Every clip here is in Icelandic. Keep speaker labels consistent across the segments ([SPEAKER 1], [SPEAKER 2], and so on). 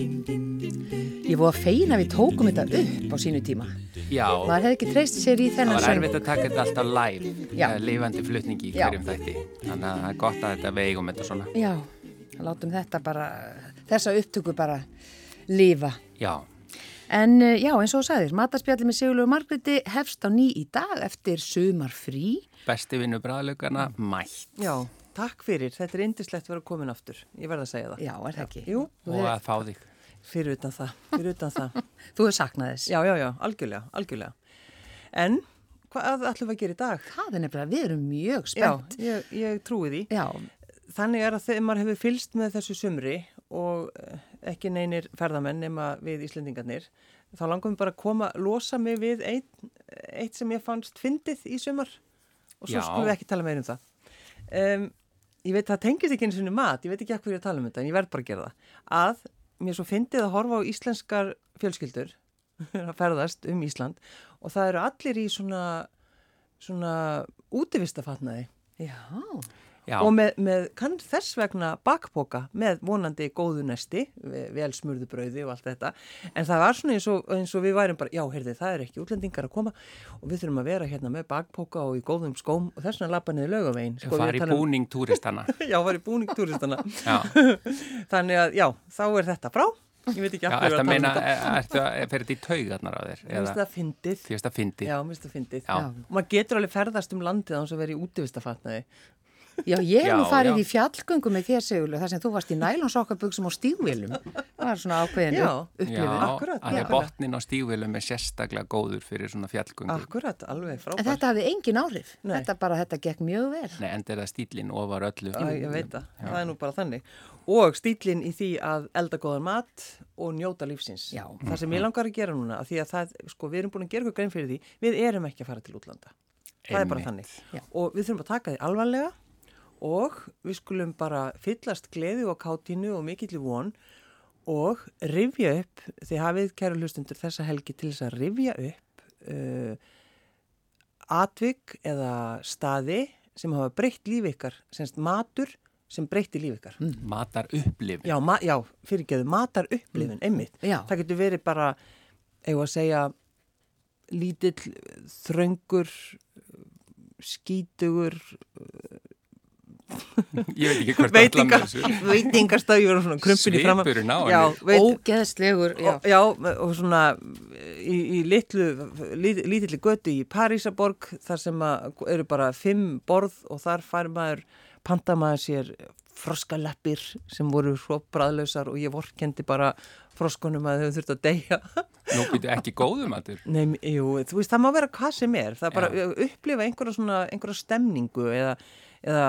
[SPEAKER 1] Ég voru að feina við tókum þetta upp á sínu tíma.
[SPEAKER 2] Já,
[SPEAKER 1] Maður hefði ekki treyst sér í
[SPEAKER 2] það
[SPEAKER 1] þennan
[SPEAKER 2] var
[SPEAKER 1] söng.
[SPEAKER 2] erfitt að taka þetta alltaf live,
[SPEAKER 1] Já.
[SPEAKER 2] það er lifandi flutningi í
[SPEAKER 1] Já.
[SPEAKER 2] hverjum þætti. Þannig að það er gott að þetta veigum þetta svona.
[SPEAKER 1] Já, látum þetta bara, þessa upptöku bara lifa.
[SPEAKER 2] Já,
[SPEAKER 1] En eh, já, eins og þú sagðir, matarspjallið með Sigurlegu Margreti hefst á ný í dag eftir sumarfrí.
[SPEAKER 2] besti vinnu bræðlaugana, mætt.
[SPEAKER 3] Já, takk fyrir. Þetta er indislegt að vera komin aftur. Ég verð að segja það.
[SPEAKER 1] Já, er það ekki?
[SPEAKER 3] Jú,
[SPEAKER 2] Og að fá þig.
[SPEAKER 3] fyrir utan það. Fyrir utan það.
[SPEAKER 1] Þú hefur saknað þess.
[SPEAKER 3] Já, já, já, algjörlega, algjörlega. En hvað ætlum við að gera í dag?
[SPEAKER 1] Það er nefnilega, við erum mjög
[SPEAKER 3] Já,
[SPEAKER 1] spennt.
[SPEAKER 3] ég, ég trúi því.
[SPEAKER 1] Já,
[SPEAKER 3] Þannig er að þegar maður hefur fylst með þessu sumri og eh, ekki neynir ferðamenn nema við Íslendingarnir, þá langum við bara að koma, losa mig við eitt, eitt sem ég fannst fyndið í sumar og svo
[SPEAKER 2] Já.
[SPEAKER 3] skulum við ekki tala meir um það. Um, ég veit, það tengist ekki eins og mat, ég veit ekki hvað ég er að tala um þetta, en ég verð bara að gera það. Að mér er svo fyndið að horfa á íslenskar fjölskyldur að ferðast um Ísland og það eru allir í svona, svona útivistafatnaði
[SPEAKER 1] já.
[SPEAKER 2] Já,
[SPEAKER 3] og með, með kann þess vegna bakpoka með vonandi góðu nesti, ve- vel smurðu brauði og allt þetta, en það var svona eins og, eins og við værum bara, já, heyrði, það er ekki útlendingar að koma og við þurfum að vera hérna með bakpoka og í góðum skóm og þess vegna lappa niður laugavegin.
[SPEAKER 2] sko,
[SPEAKER 3] við
[SPEAKER 2] fari
[SPEAKER 3] tala um-
[SPEAKER 2] búning túristana.
[SPEAKER 3] Já, var í búning túristana.
[SPEAKER 2] Já.
[SPEAKER 3] Þannig að, já, þá er þetta frá. Ég veit ekki
[SPEAKER 2] Já,
[SPEAKER 3] af hverju
[SPEAKER 2] ertu
[SPEAKER 3] við
[SPEAKER 2] að
[SPEAKER 3] erum
[SPEAKER 2] meina,
[SPEAKER 3] að tala um þetta.
[SPEAKER 2] eh, ertu að, fer þetta í taugarnar á þér?
[SPEAKER 3] Mér finnst
[SPEAKER 2] Eða,
[SPEAKER 3] það fyndið.
[SPEAKER 2] því að fyndi?
[SPEAKER 3] Já, mér finnst það fyndið.
[SPEAKER 2] Já.
[SPEAKER 3] Og maður getur alveg ferðast um landið án sem verið í útivistafatnaði.
[SPEAKER 1] Já, ég hef nú
[SPEAKER 2] Já,
[SPEAKER 1] farið
[SPEAKER 2] já.
[SPEAKER 1] í fjallgöngu með þér Sigurlegu, þar sem þú varst í nælonsokkabugsum og stígvélum. Það var svona ákveðinu
[SPEAKER 3] Já.
[SPEAKER 2] Já,
[SPEAKER 1] upplifun.
[SPEAKER 3] Akkúrat,
[SPEAKER 2] að því að
[SPEAKER 3] nákvæmlega.
[SPEAKER 2] botnin á stígvélum er sérstaklega góður fyrir svona fjallgöngur.
[SPEAKER 3] Akkurat, alveg frábært.
[SPEAKER 1] En þetta hafði engin áhrif.
[SPEAKER 3] Nei.
[SPEAKER 1] Þetta bara, þetta gekk mjög vel.
[SPEAKER 2] Nei, enda er það stílinn ofar öllu.
[SPEAKER 3] Já, ég veit það. Það er nú bara þannig. Og stílinn í því að elda góðan mat og njóta lífsins.
[SPEAKER 1] Já.
[SPEAKER 3] Það sem ég langar að gera núna, að því að það, sko, við erum búin að gera eitthvað grein fyrir því, við erum ekki að fara til útlanda. Það er bara
[SPEAKER 2] Einmitt.
[SPEAKER 3] þannig.
[SPEAKER 1] Já.
[SPEAKER 3] Og við þurfum að taka því alvarlega og við skulum bara fyllast gleði og kátinu og mikill í von og rifja upp, þið hafið, kæru hlustundur, þessa helgi til þess að rifja upp uh, atvik eða staði sem hafa breytt lífi ykkar, semst matur sem breytti lífi ykkar.
[SPEAKER 2] Matar upplifin.
[SPEAKER 3] Já, ma já fyrirgeðu, matar upplifun,
[SPEAKER 2] Mm.
[SPEAKER 3] einmitt.
[SPEAKER 1] Já.
[SPEAKER 3] Það getur verið bara, eigum að segja, lítill, þröngur, skítugur,
[SPEAKER 2] Ég veit ekki hvort það ætla með
[SPEAKER 3] veitingar,
[SPEAKER 2] þessu.
[SPEAKER 3] veitingastöðjur og svona krumpin í framar.
[SPEAKER 2] Svipurinn á henni.
[SPEAKER 3] Já, veit,
[SPEAKER 1] Ógeðslegur, já.
[SPEAKER 3] og, já, og svona í, í litlu, lit, lítilli götu í Parísaborg þar sem að eru bara fimm borð og þar fær maður, panta maður sér froskalappir sem voru svo bræðlausar og ég vorkendi bara froskunum að þau þurft að deyja.
[SPEAKER 2] Nú byrju ekki góðum matur.
[SPEAKER 3] Nei, m- jú, þú veist, það má vera hvað sem er, það er bara
[SPEAKER 2] Já.
[SPEAKER 3] að upplifa einhverja svona, einhverja stemningu eða, eða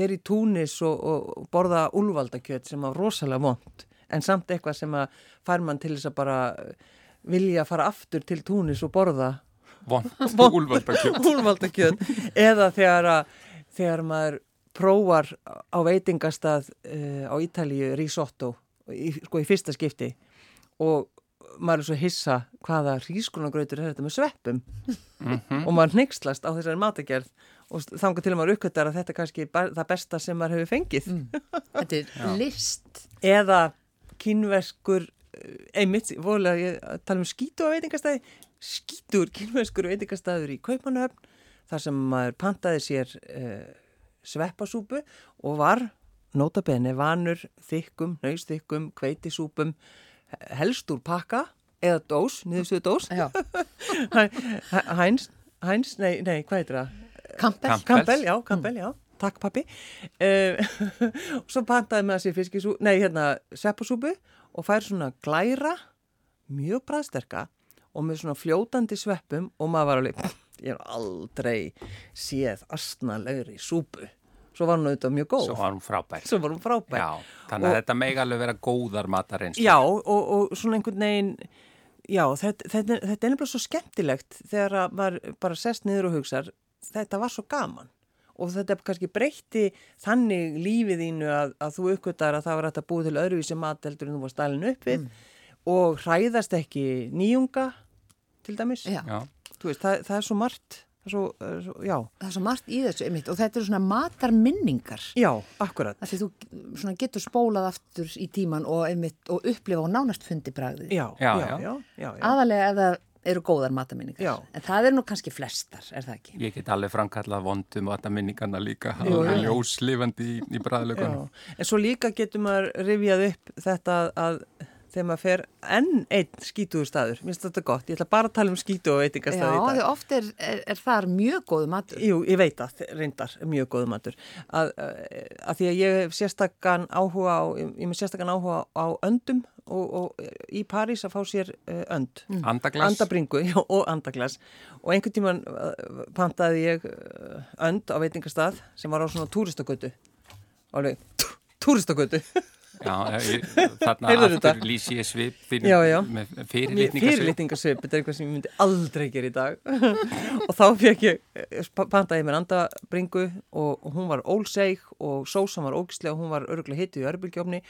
[SPEAKER 3] vera í túnis og, og borða úlvaldakjöt sem var rosalega vond, en samt eitthvað sem að fær mann til þess að bara vilja fara aftur til túnis og borða
[SPEAKER 2] Vond úlvaldakjöt.
[SPEAKER 3] úlvaldakjöt, eða þegar að, þegar maður prófar á veitingastað uh, á Ítalíu risotto, í, sko í fyrsta skipti og maður er svo hissa hvaða rískunagrautur er þetta með sveppum og maður hnyggslast á þessari matagerð og þangar til að maður uppgötar að þetta er kannski ba- það besta sem maður hefur fengið
[SPEAKER 1] Þetta er list.
[SPEAKER 3] eða kínverskur eh, einmitt, vorulega ég að tala um skítu á veitingastæði, skítur kínverskur veitingastæður í Kaupanöfn þar sem maður pantaði sér uh, sveppasúpu og var notabene vanur þykkum, nausþykkum, kveitisúpum eh, helst úr pakka eða dós, niðurstuðu dós
[SPEAKER 1] Já.
[SPEAKER 3] hæns, hæns, nei, nei, hvað heitir það?
[SPEAKER 1] Kampel.
[SPEAKER 2] Kamp.
[SPEAKER 3] Kampel, já, Kampel, já. Takk pappi. Uh, svo pantaði með sér fiskisú, nei hérna sveppasúpu og fær svona glæra, mjög bræðsterka og með svona fljótandi sveppum og maður var alveg, ég er aldrei séð astnalegri súpu. Svo var hún auðvitað mjög góð.
[SPEAKER 2] Svo var hún frábær.
[SPEAKER 3] Svo var hún frábær.
[SPEAKER 2] Já, þannig að þetta megi alveg vera góðar matareins.
[SPEAKER 3] Já, og, og svona einhvern veginn, já, þetta, þetta, þetta er nefnilega svo skemmtilegt þegar að maður bara sest niður og hugsar, þetta var svo gaman. og þetta kannski breytti þannig lífið þínu að, að þú uppgötar að það var hægt að búa til öðruvísi mat heldur en þú var stælinn uppið og hræðast ekki nýjunga til dæmis.
[SPEAKER 1] Já.
[SPEAKER 2] já,
[SPEAKER 3] Þú veist, það, það er svo margt, það er svo, það er svo, já,
[SPEAKER 1] Það er svo margt í þessu, einmitt, og þetta eru svona matarminningar.
[SPEAKER 3] já, akkurat,
[SPEAKER 1] Því þú svona getur spólað aftur í tíman og, einmitt, og upplifa og nánast fundi bragðið.
[SPEAKER 3] já,
[SPEAKER 2] Já,
[SPEAKER 3] já,
[SPEAKER 2] já.
[SPEAKER 3] já, já, já.
[SPEAKER 1] Aðalega ef það eru góðar matarminningar.
[SPEAKER 3] Já.
[SPEAKER 1] En það eru nú kannski flestar, er það ekki?
[SPEAKER 2] ég get alveg framkallað vondum og þetta minningarna líka,
[SPEAKER 3] Jú,
[SPEAKER 2] alveg
[SPEAKER 3] já.
[SPEAKER 2] ljóslifandi í, í bræðlökunum.
[SPEAKER 3] Já, en svo líka getur maður rifjað upp þetta að þegar maður fer enn einn skítuðu staður, minnst þetta gott, ég ætla bara að tala um skítuðu
[SPEAKER 1] Já,
[SPEAKER 3] og veitingastaði í
[SPEAKER 1] því
[SPEAKER 3] dag.
[SPEAKER 1] oft er, er, er þar mjög góð matur.
[SPEAKER 3] Jú, ég veit að reyndar, mjög góðu matur, að, að, að því að ég hef sérstakann áhuga á, ég með sérstakann áhuga á öndum og, og í París að fá sér eh, önd.
[SPEAKER 2] Andaglas,
[SPEAKER 3] Andabringu já, og andaglas og einhvern tíman uh, pantaði ég uh, önd á veitingastað sem var á svona túristagötu alveg, túristagötu
[SPEAKER 2] já, ég, þarna
[SPEAKER 3] Heyrðu
[SPEAKER 2] aftur
[SPEAKER 3] þetta?
[SPEAKER 2] lýsi ég svip
[SPEAKER 3] Já, já.
[SPEAKER 2] þínum með fyrirlitningasvip.
[SPEAKER 3] fyrirlitningasvip þetta er eitthvað sem ég myndi aldrei gera í dag og þá fekk ég eh, pa- pantaði ég mér andabringu og, og hún var ólseig og sósan var ógislega og hún var örgulega hitið í örbulgjófni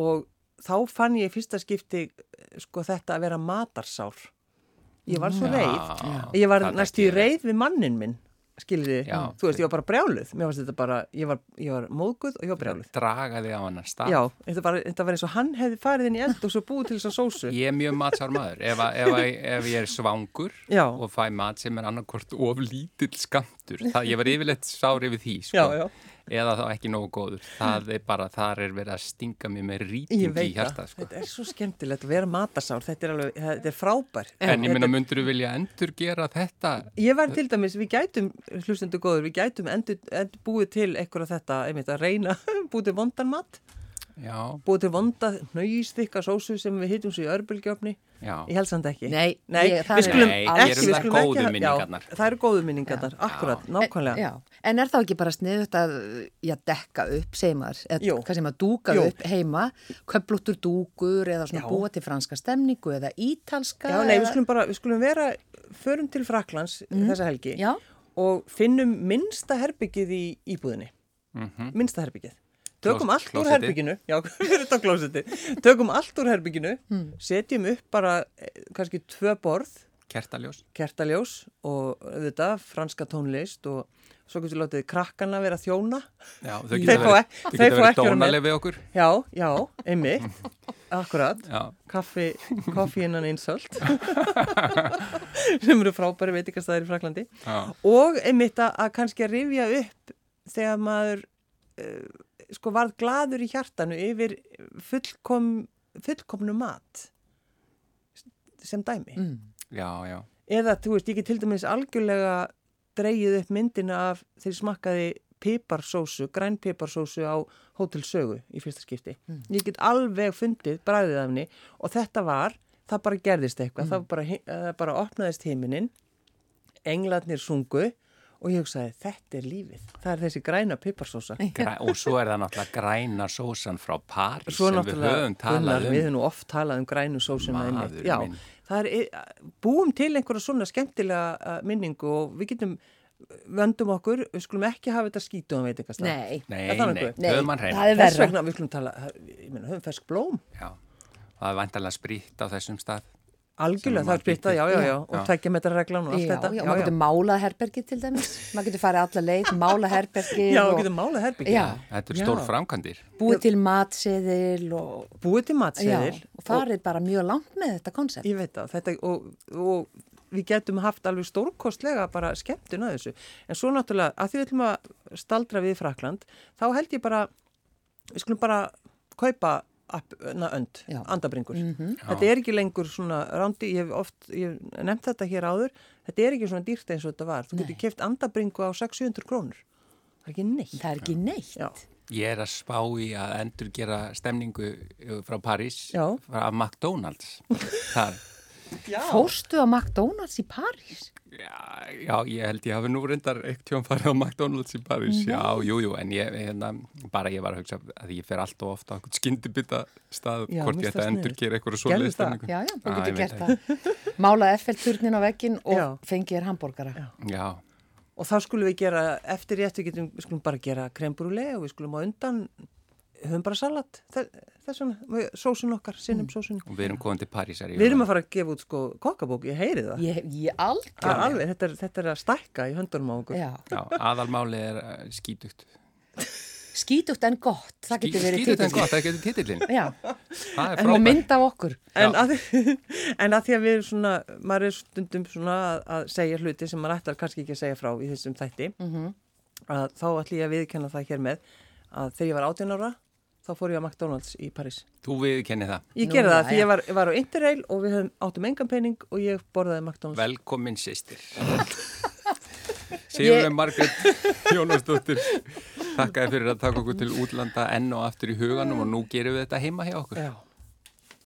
[SPEAKER 3] og þá fann ég í fyrsta skipti eh, sko þetta að vera matarsár ég var svo reið ég var
[SPEAKER 2] það
[SPEAKER 3] næstu í
[SPEAKER 2] þekki ég.
[SPEAKER 3] reið við mannin minn skilði,
[SPEAKER 2] Já.
[SPEAKER 3] þú veist, ég var bara brjáluð mér varst þetta bara, ég var, ég var móðguð og ég var brjáluð
[SPEAKER 2] draga þig á annan stað.
[SPEAKER 3] já, þetta var, þetta var eins og hann hefði farið inn í eld og svo búið til þess að sósu
[SPEAKER 2] Ég er mjög matsár maður. Ef, að- ef, að- ef ég er svangur
[SPEAKER 3] Já.
[SPEAKER 2] og fæ mat sem er annarkvort of lítill skamtur, það, ég var yfirleitt sár yfir því, sko.
[SPEAKER 3] Já, já.
[SPEAKER 2] Eða þá ekki nógu góður. Það er bara, þar er verið að stinga mér með
[SPEAKER 3] ég
[SPEAKER 2] rýting í
[SPEAKER 3] veit
[SPEAKER 2] hjarta,
[SPEAKER 3] það,
[SPEAKER 2] sko.
[SPEAKER 3] þetta er svo skemmtilegt að vera matasár, þetta er alveg, þetta er frábær
[SPEAKER 2] En ég minna,
[SPEAKER 3] Þetta er-
[SPEAKER 2] myndur þú vilja endur gera þetta?
[SPEAKER 3] ég var til dæmis, við gætum hlustundu góður, við gætum endur, endur búið til eitthvað þetta, einmitt að reyna búið til vondan mat,
[SPEAKER 2] Já,
[SPEAKER 3] búið til vonda nöyistikka sósu sem við hittum svo í örbulgjófni
[SPEAKER 2] já.
[SPEAKER 3] Ég held samt ekki.
[SPEAKER 1] Nei,
[SPEAKER 3] Nei
[SPEAKER 1] ég- það
[SPEAKER 3] við
[SPEAKER 1] er-
[SPEAKER 3] skulum
[SPEAKER 2] Nei,
[SPEAKER 3] ekki,
[SPEAKER 2] gerum
[SPEAKER 3] við
[SPEAKER 2] það
[SPEAKER 3] skulum
[SPEAKER 2] góðu
[SPEAKER 3] ekki-
[SPEAKER 2] minningarnar.
[SPEAKER 3] Já, það eru góðu minningarnar, akkurat, nákvæmlega.
[SPEAKER 1] Já, en er þá ekki bara sniðut að já, dekka upp, segir maður, eða
[SPEAKER 3] Jú.
[SPEAKER 1] hvað sem að dúka
[SPEAKER 3] Jú.
[SPEAKER 1] upp heima, köflóttur dúkur eða svona
[SPEAKER 3] Já.
[SPEAKER 1] búa til franska stemningu eða ítalska.
[SPEAKER 3] Já, nei, við
[SPEAKER 1] eða- Mhm.
[SPEAKER 3] skulum bara, við skulum vera, förum til Fraklands þessa helgi
[SPEAKER 1] Já.
[SPEAKER 3] og finnum minnsta herbyggið í íbúðinni. Minnsta herbyggið.
[SPEAKER 2] Mhm.
[SPEAKER 3] Tökum
[SPEAKER 2] Klós-
[SPEAKER 3] allt úr
[SPEAKER 2] klósettið.
[SPEAKER 3] herbygginu, já, fyrir þetta klósetti, tökum allt úr herbygginu,
[SPEAKER 1] Hmm.
[SPEAKER 3] setjum upp bara eh, kannski tvö borð,
[SPEAKER 2] Kertaljós?
[SPEAKER 3] kertaljós og þetta, franska tónlist og svo getur við látið krakkana vera þjóna.
[SPEAKER 2] Já, þau
[SPEAKER 3] Þeir
[SPEAKER 2] geta
[SPEAKER 3] fá
[SPEAKER 2] verið,
[SPEAKER 3] ek-
[SPEAKER 2] þau
[SPEAKER 3] þeir
[SPEAKER 2] geta
[SPEAKER 3] fá
[SPEAKER 2] verið
[SPEAKER 3] ekki vera með.
[SPEAKER 2] dónaleg við okkur.
[SPEAKER 3] Já, já, einmitt, akkurat,
[SPEAKER 2] Já.
[SPEAKER 3] kaffi, kaffi innan einsöld, sem eru frábæri veitingastæðir í Fraklandi
[SPEAKER 2] Já.
[SPEAKER 3] og einmitt að, að kannski að rifja upp þegar maður uh, sko varð gladur í hjartanu yfir fullkom, fullkomnu mat sem dæmi.
[SPEAKER 1] Mm.
[SPEAKER 2] Já, já.
[SPEAKER 3] Eða, þú veist, ég get til dæmis algjörlega dreigið upp myndina af þeir smakkaði piparsósu, grænpiparsósu á hótelsögu í fyrsta skipti. Ég get alveg fundið bræðið af henni og þetta var, það bara gerðist eitthvað, það bara, hi- eh, bara opnaðist heiminin, englarnir sungu og ég hugsaði, þetta er lífið. Það er þessi græna piparsósa.
[SPEAKER 2] Græ, og svo er það náttúrulega græna sósan frá París
[SPEAKER 3] Svo
[SPEAKER 2] sem við
[SPEAKER 3] náttúrulega,
[SPEAKER 2] höfum talað
[SPEAKER 3] Gunnar,
[SPEAKER 2] um.
[SPEAKER 3] við höfum nú oft talað um grænu sósuna
[SPEAKER 2] Maður
[SPEAKER 3] einmitt. Já,
[SPEAKER 2] minn.
[SPEAKER 3] það er, eh, búum til einhverja svona skemmtilega uh, minningu og við getum eh, vöndum okkur, við skulum ekki hafa þetta skítu um veitingastað.
[SPEAKER 1] Nei.
[SPEAKER 2] Nei,
[SPEAKER 3] Er það
[SPEAKER 2] nei,
[SPEAKER 3] nokkuð?
[SPEAKER 1] Nei,
[SPEAKER 2] höfum hann
[SPEAKER 1] það
[SPEAKER 2] reyna.
[SPEAKER 1] er-
[SPEAKER 3] Þess
[SPEAKER 1] verra.
[SPEAKER 3] vegna við skulum tala, eh, ég meina, höfum fersk blóm.
[SPEAKER 2] Já, það er vantalega sprit á þessum stað.
[SPEAKER 3] Algjörlega,
[SPEAKER 2] Sem
[SPEAKER 3] það er
[SPEAKER 2] maður
[SPEAKER 3] bytta, já, já, já, og
[SPEAKER 2] Já.
[SPEAKER 3] tveggja metra reglan og allt
[SPEAKER 1] Já,
[SPEAKER 3] þetta.
[SPEAKER 1] já, maður getur málað herbergi til dæmis, maður getur farið alla leið, málað herbergi
[SPEAKER 3] Já,
[SPEAKER 1] og
[SPEAKER 3] getur málað herbyggja.
[SPEAKER 1] Já.
[SPEAKER 2] Þetta er
[SPEAKER 3] Já.
[SPEAKER 2] stór framkandir.
[SPEAKER 1] búið til matseðil og,
[SPEAKER 3] Búið til matseðil.
[SPEAKER 1] já, og farið bara mjög langt með þetta konsept.
[SPEAKER 3] Ég veit það, þetta, og, og við getum haft alveg stórkostlega bara skemmtun að þessu. En svo náttúrulega, að því við ætlum að staldra við Frakland, þá held ég bara, við skulum bara kaupa app, na, önd,
[SPEAKER 1] Já.
[SPEAKER 3] andabringur. Þetta er ekki lengur svona rándi, ég hef oft, ég hef nefnt þetta hér áður, þetta er ekki svona dýrt eins og þetta var. Þú getur keft andabringu á 600 krónur. Það er ekki neitt.
[SPEAKER 1] Það er ekki neitt.
[SPEAKER 3] Já,
[SPEAKER 2] Ég er að spá í að endur gera stemningu uh, frá París
[SPEAKER 3] Já.
[SPEAKER 2] frá- af McDonalds. Þar.
[SPEAKER 1] Fórstu á McDonalds í París?
[SPEAKER 2] Já, já, ég held ég hafi nú reyndar eitt tjón farið á McDonalds í París.
[SPEAKER 1] Mhm.
[SPEAKER 2] Já, jú, jú, en ég, hérna, bara ég var að hugsa að ég fer allt og ofta á einhvern skyndibita stað
[SPEAKER 3] Já,
[SPEAKER 2] hvort
[SPEAKER 3] mér
[SPEAKER 2] ég ætta
[SPEAKER 3] finnst
[SPEAKER 2] að
[SPEAKER 3] það
[SPEAKER 2] endur
[SPEAKER 3] sniðugt.
[SPEAKER 2] gera eitthvað
[SPEAKER 3] Gerðu
[SPEAKER 2] svoleiðið
[SPEAKER 3] það.
[SPEAKER 2] stemningu.
[SPEAKER 1] Já, já, þú
[SPEAKER 2] Ah, ég
[SPEAKER 1] getur
[SPEAKER 2] veit
[SPEAKER 1] gert það. Málaði Eiffel-turnin á vekkin og
[SPEAKER 3] Já.
[SPEAKER 1] fengið þér hambúrgara.
[SPEAKER 2] Já,
[SPEAKER 3] og þá skulum við gera, eftir rétt við getum, við skulum bara gera krembrúle og við skulum á undan, höfum bara salat, Þe- þess vegna, sósun okkar,
[SPEAKER 1] Mm.
[SPEAKER 3] sinnum sósun.
[SPEAKER 2] og við erum komin til Parísar í
[SPEAKER 3] Við erum
[SPEAKER 2] jólum.
[SPEAKER 3] að fara að gefa út sko kokkabók, ég heyri það.
[SPEAKER 1] Ég, ég aldrei.
[SPEAKER 3] Það er Alveg, þetta, er, þetta er að stækka í höndunum á okkur.
[SPEAKER 1] Já.
[SPEAKER 2] Já, aðalmáli er eh, skítugt
[SPEAKER 1] Skítugt en gott, það
[SPEAKER 2] Skí-
[SPEAKER 1] getur verið
[SPEAKER 2] skítugt en
[SPEAKER 1] titillinn.
[SPEAKER 2] gott, það getur titillin
[SPEAKER 1] Já,
[SPEAKER 2] það er
[SPEAKER 1] og
[SPEAKER 2] frábært
[SPEAKER 1] mynd af okkur.
[SPEAKER 3] En að, en að því að við erum svona, maður er stundum svona að, að segja hluti sem maður ættar kannski ekki að segja frá í þessum þætti,
[SPEAKER 1] Mhm.
[SPEAKER 3] að þá ætlum ég að viðkenna það hér með að þegar ég var 18 ára, þá fór ég að McDonalds í Paris.
[SPEAKER 2] þú viðkenni það
[SPEAKER 3] Ég
[SPEAKER 1] Nú,
[SPEAKER 3] gerði það
[SPEAKER 1] já,
[SPEAKER 3] því
[SPEAKER 1] já.
[SPEAKER 3] ég var, var á Interrail og við höfum áttum engan pening og ég borðaði McDonalds.
[SPEAKER 2] Velkomin sýstir Sigurlega Margrét Jónasdóttir Takkaði fyrir að taka okkur til útlanda enn og aftur í huganum og nú gerum við þetta heima hjá okkur
[SPEAKER 3] Já.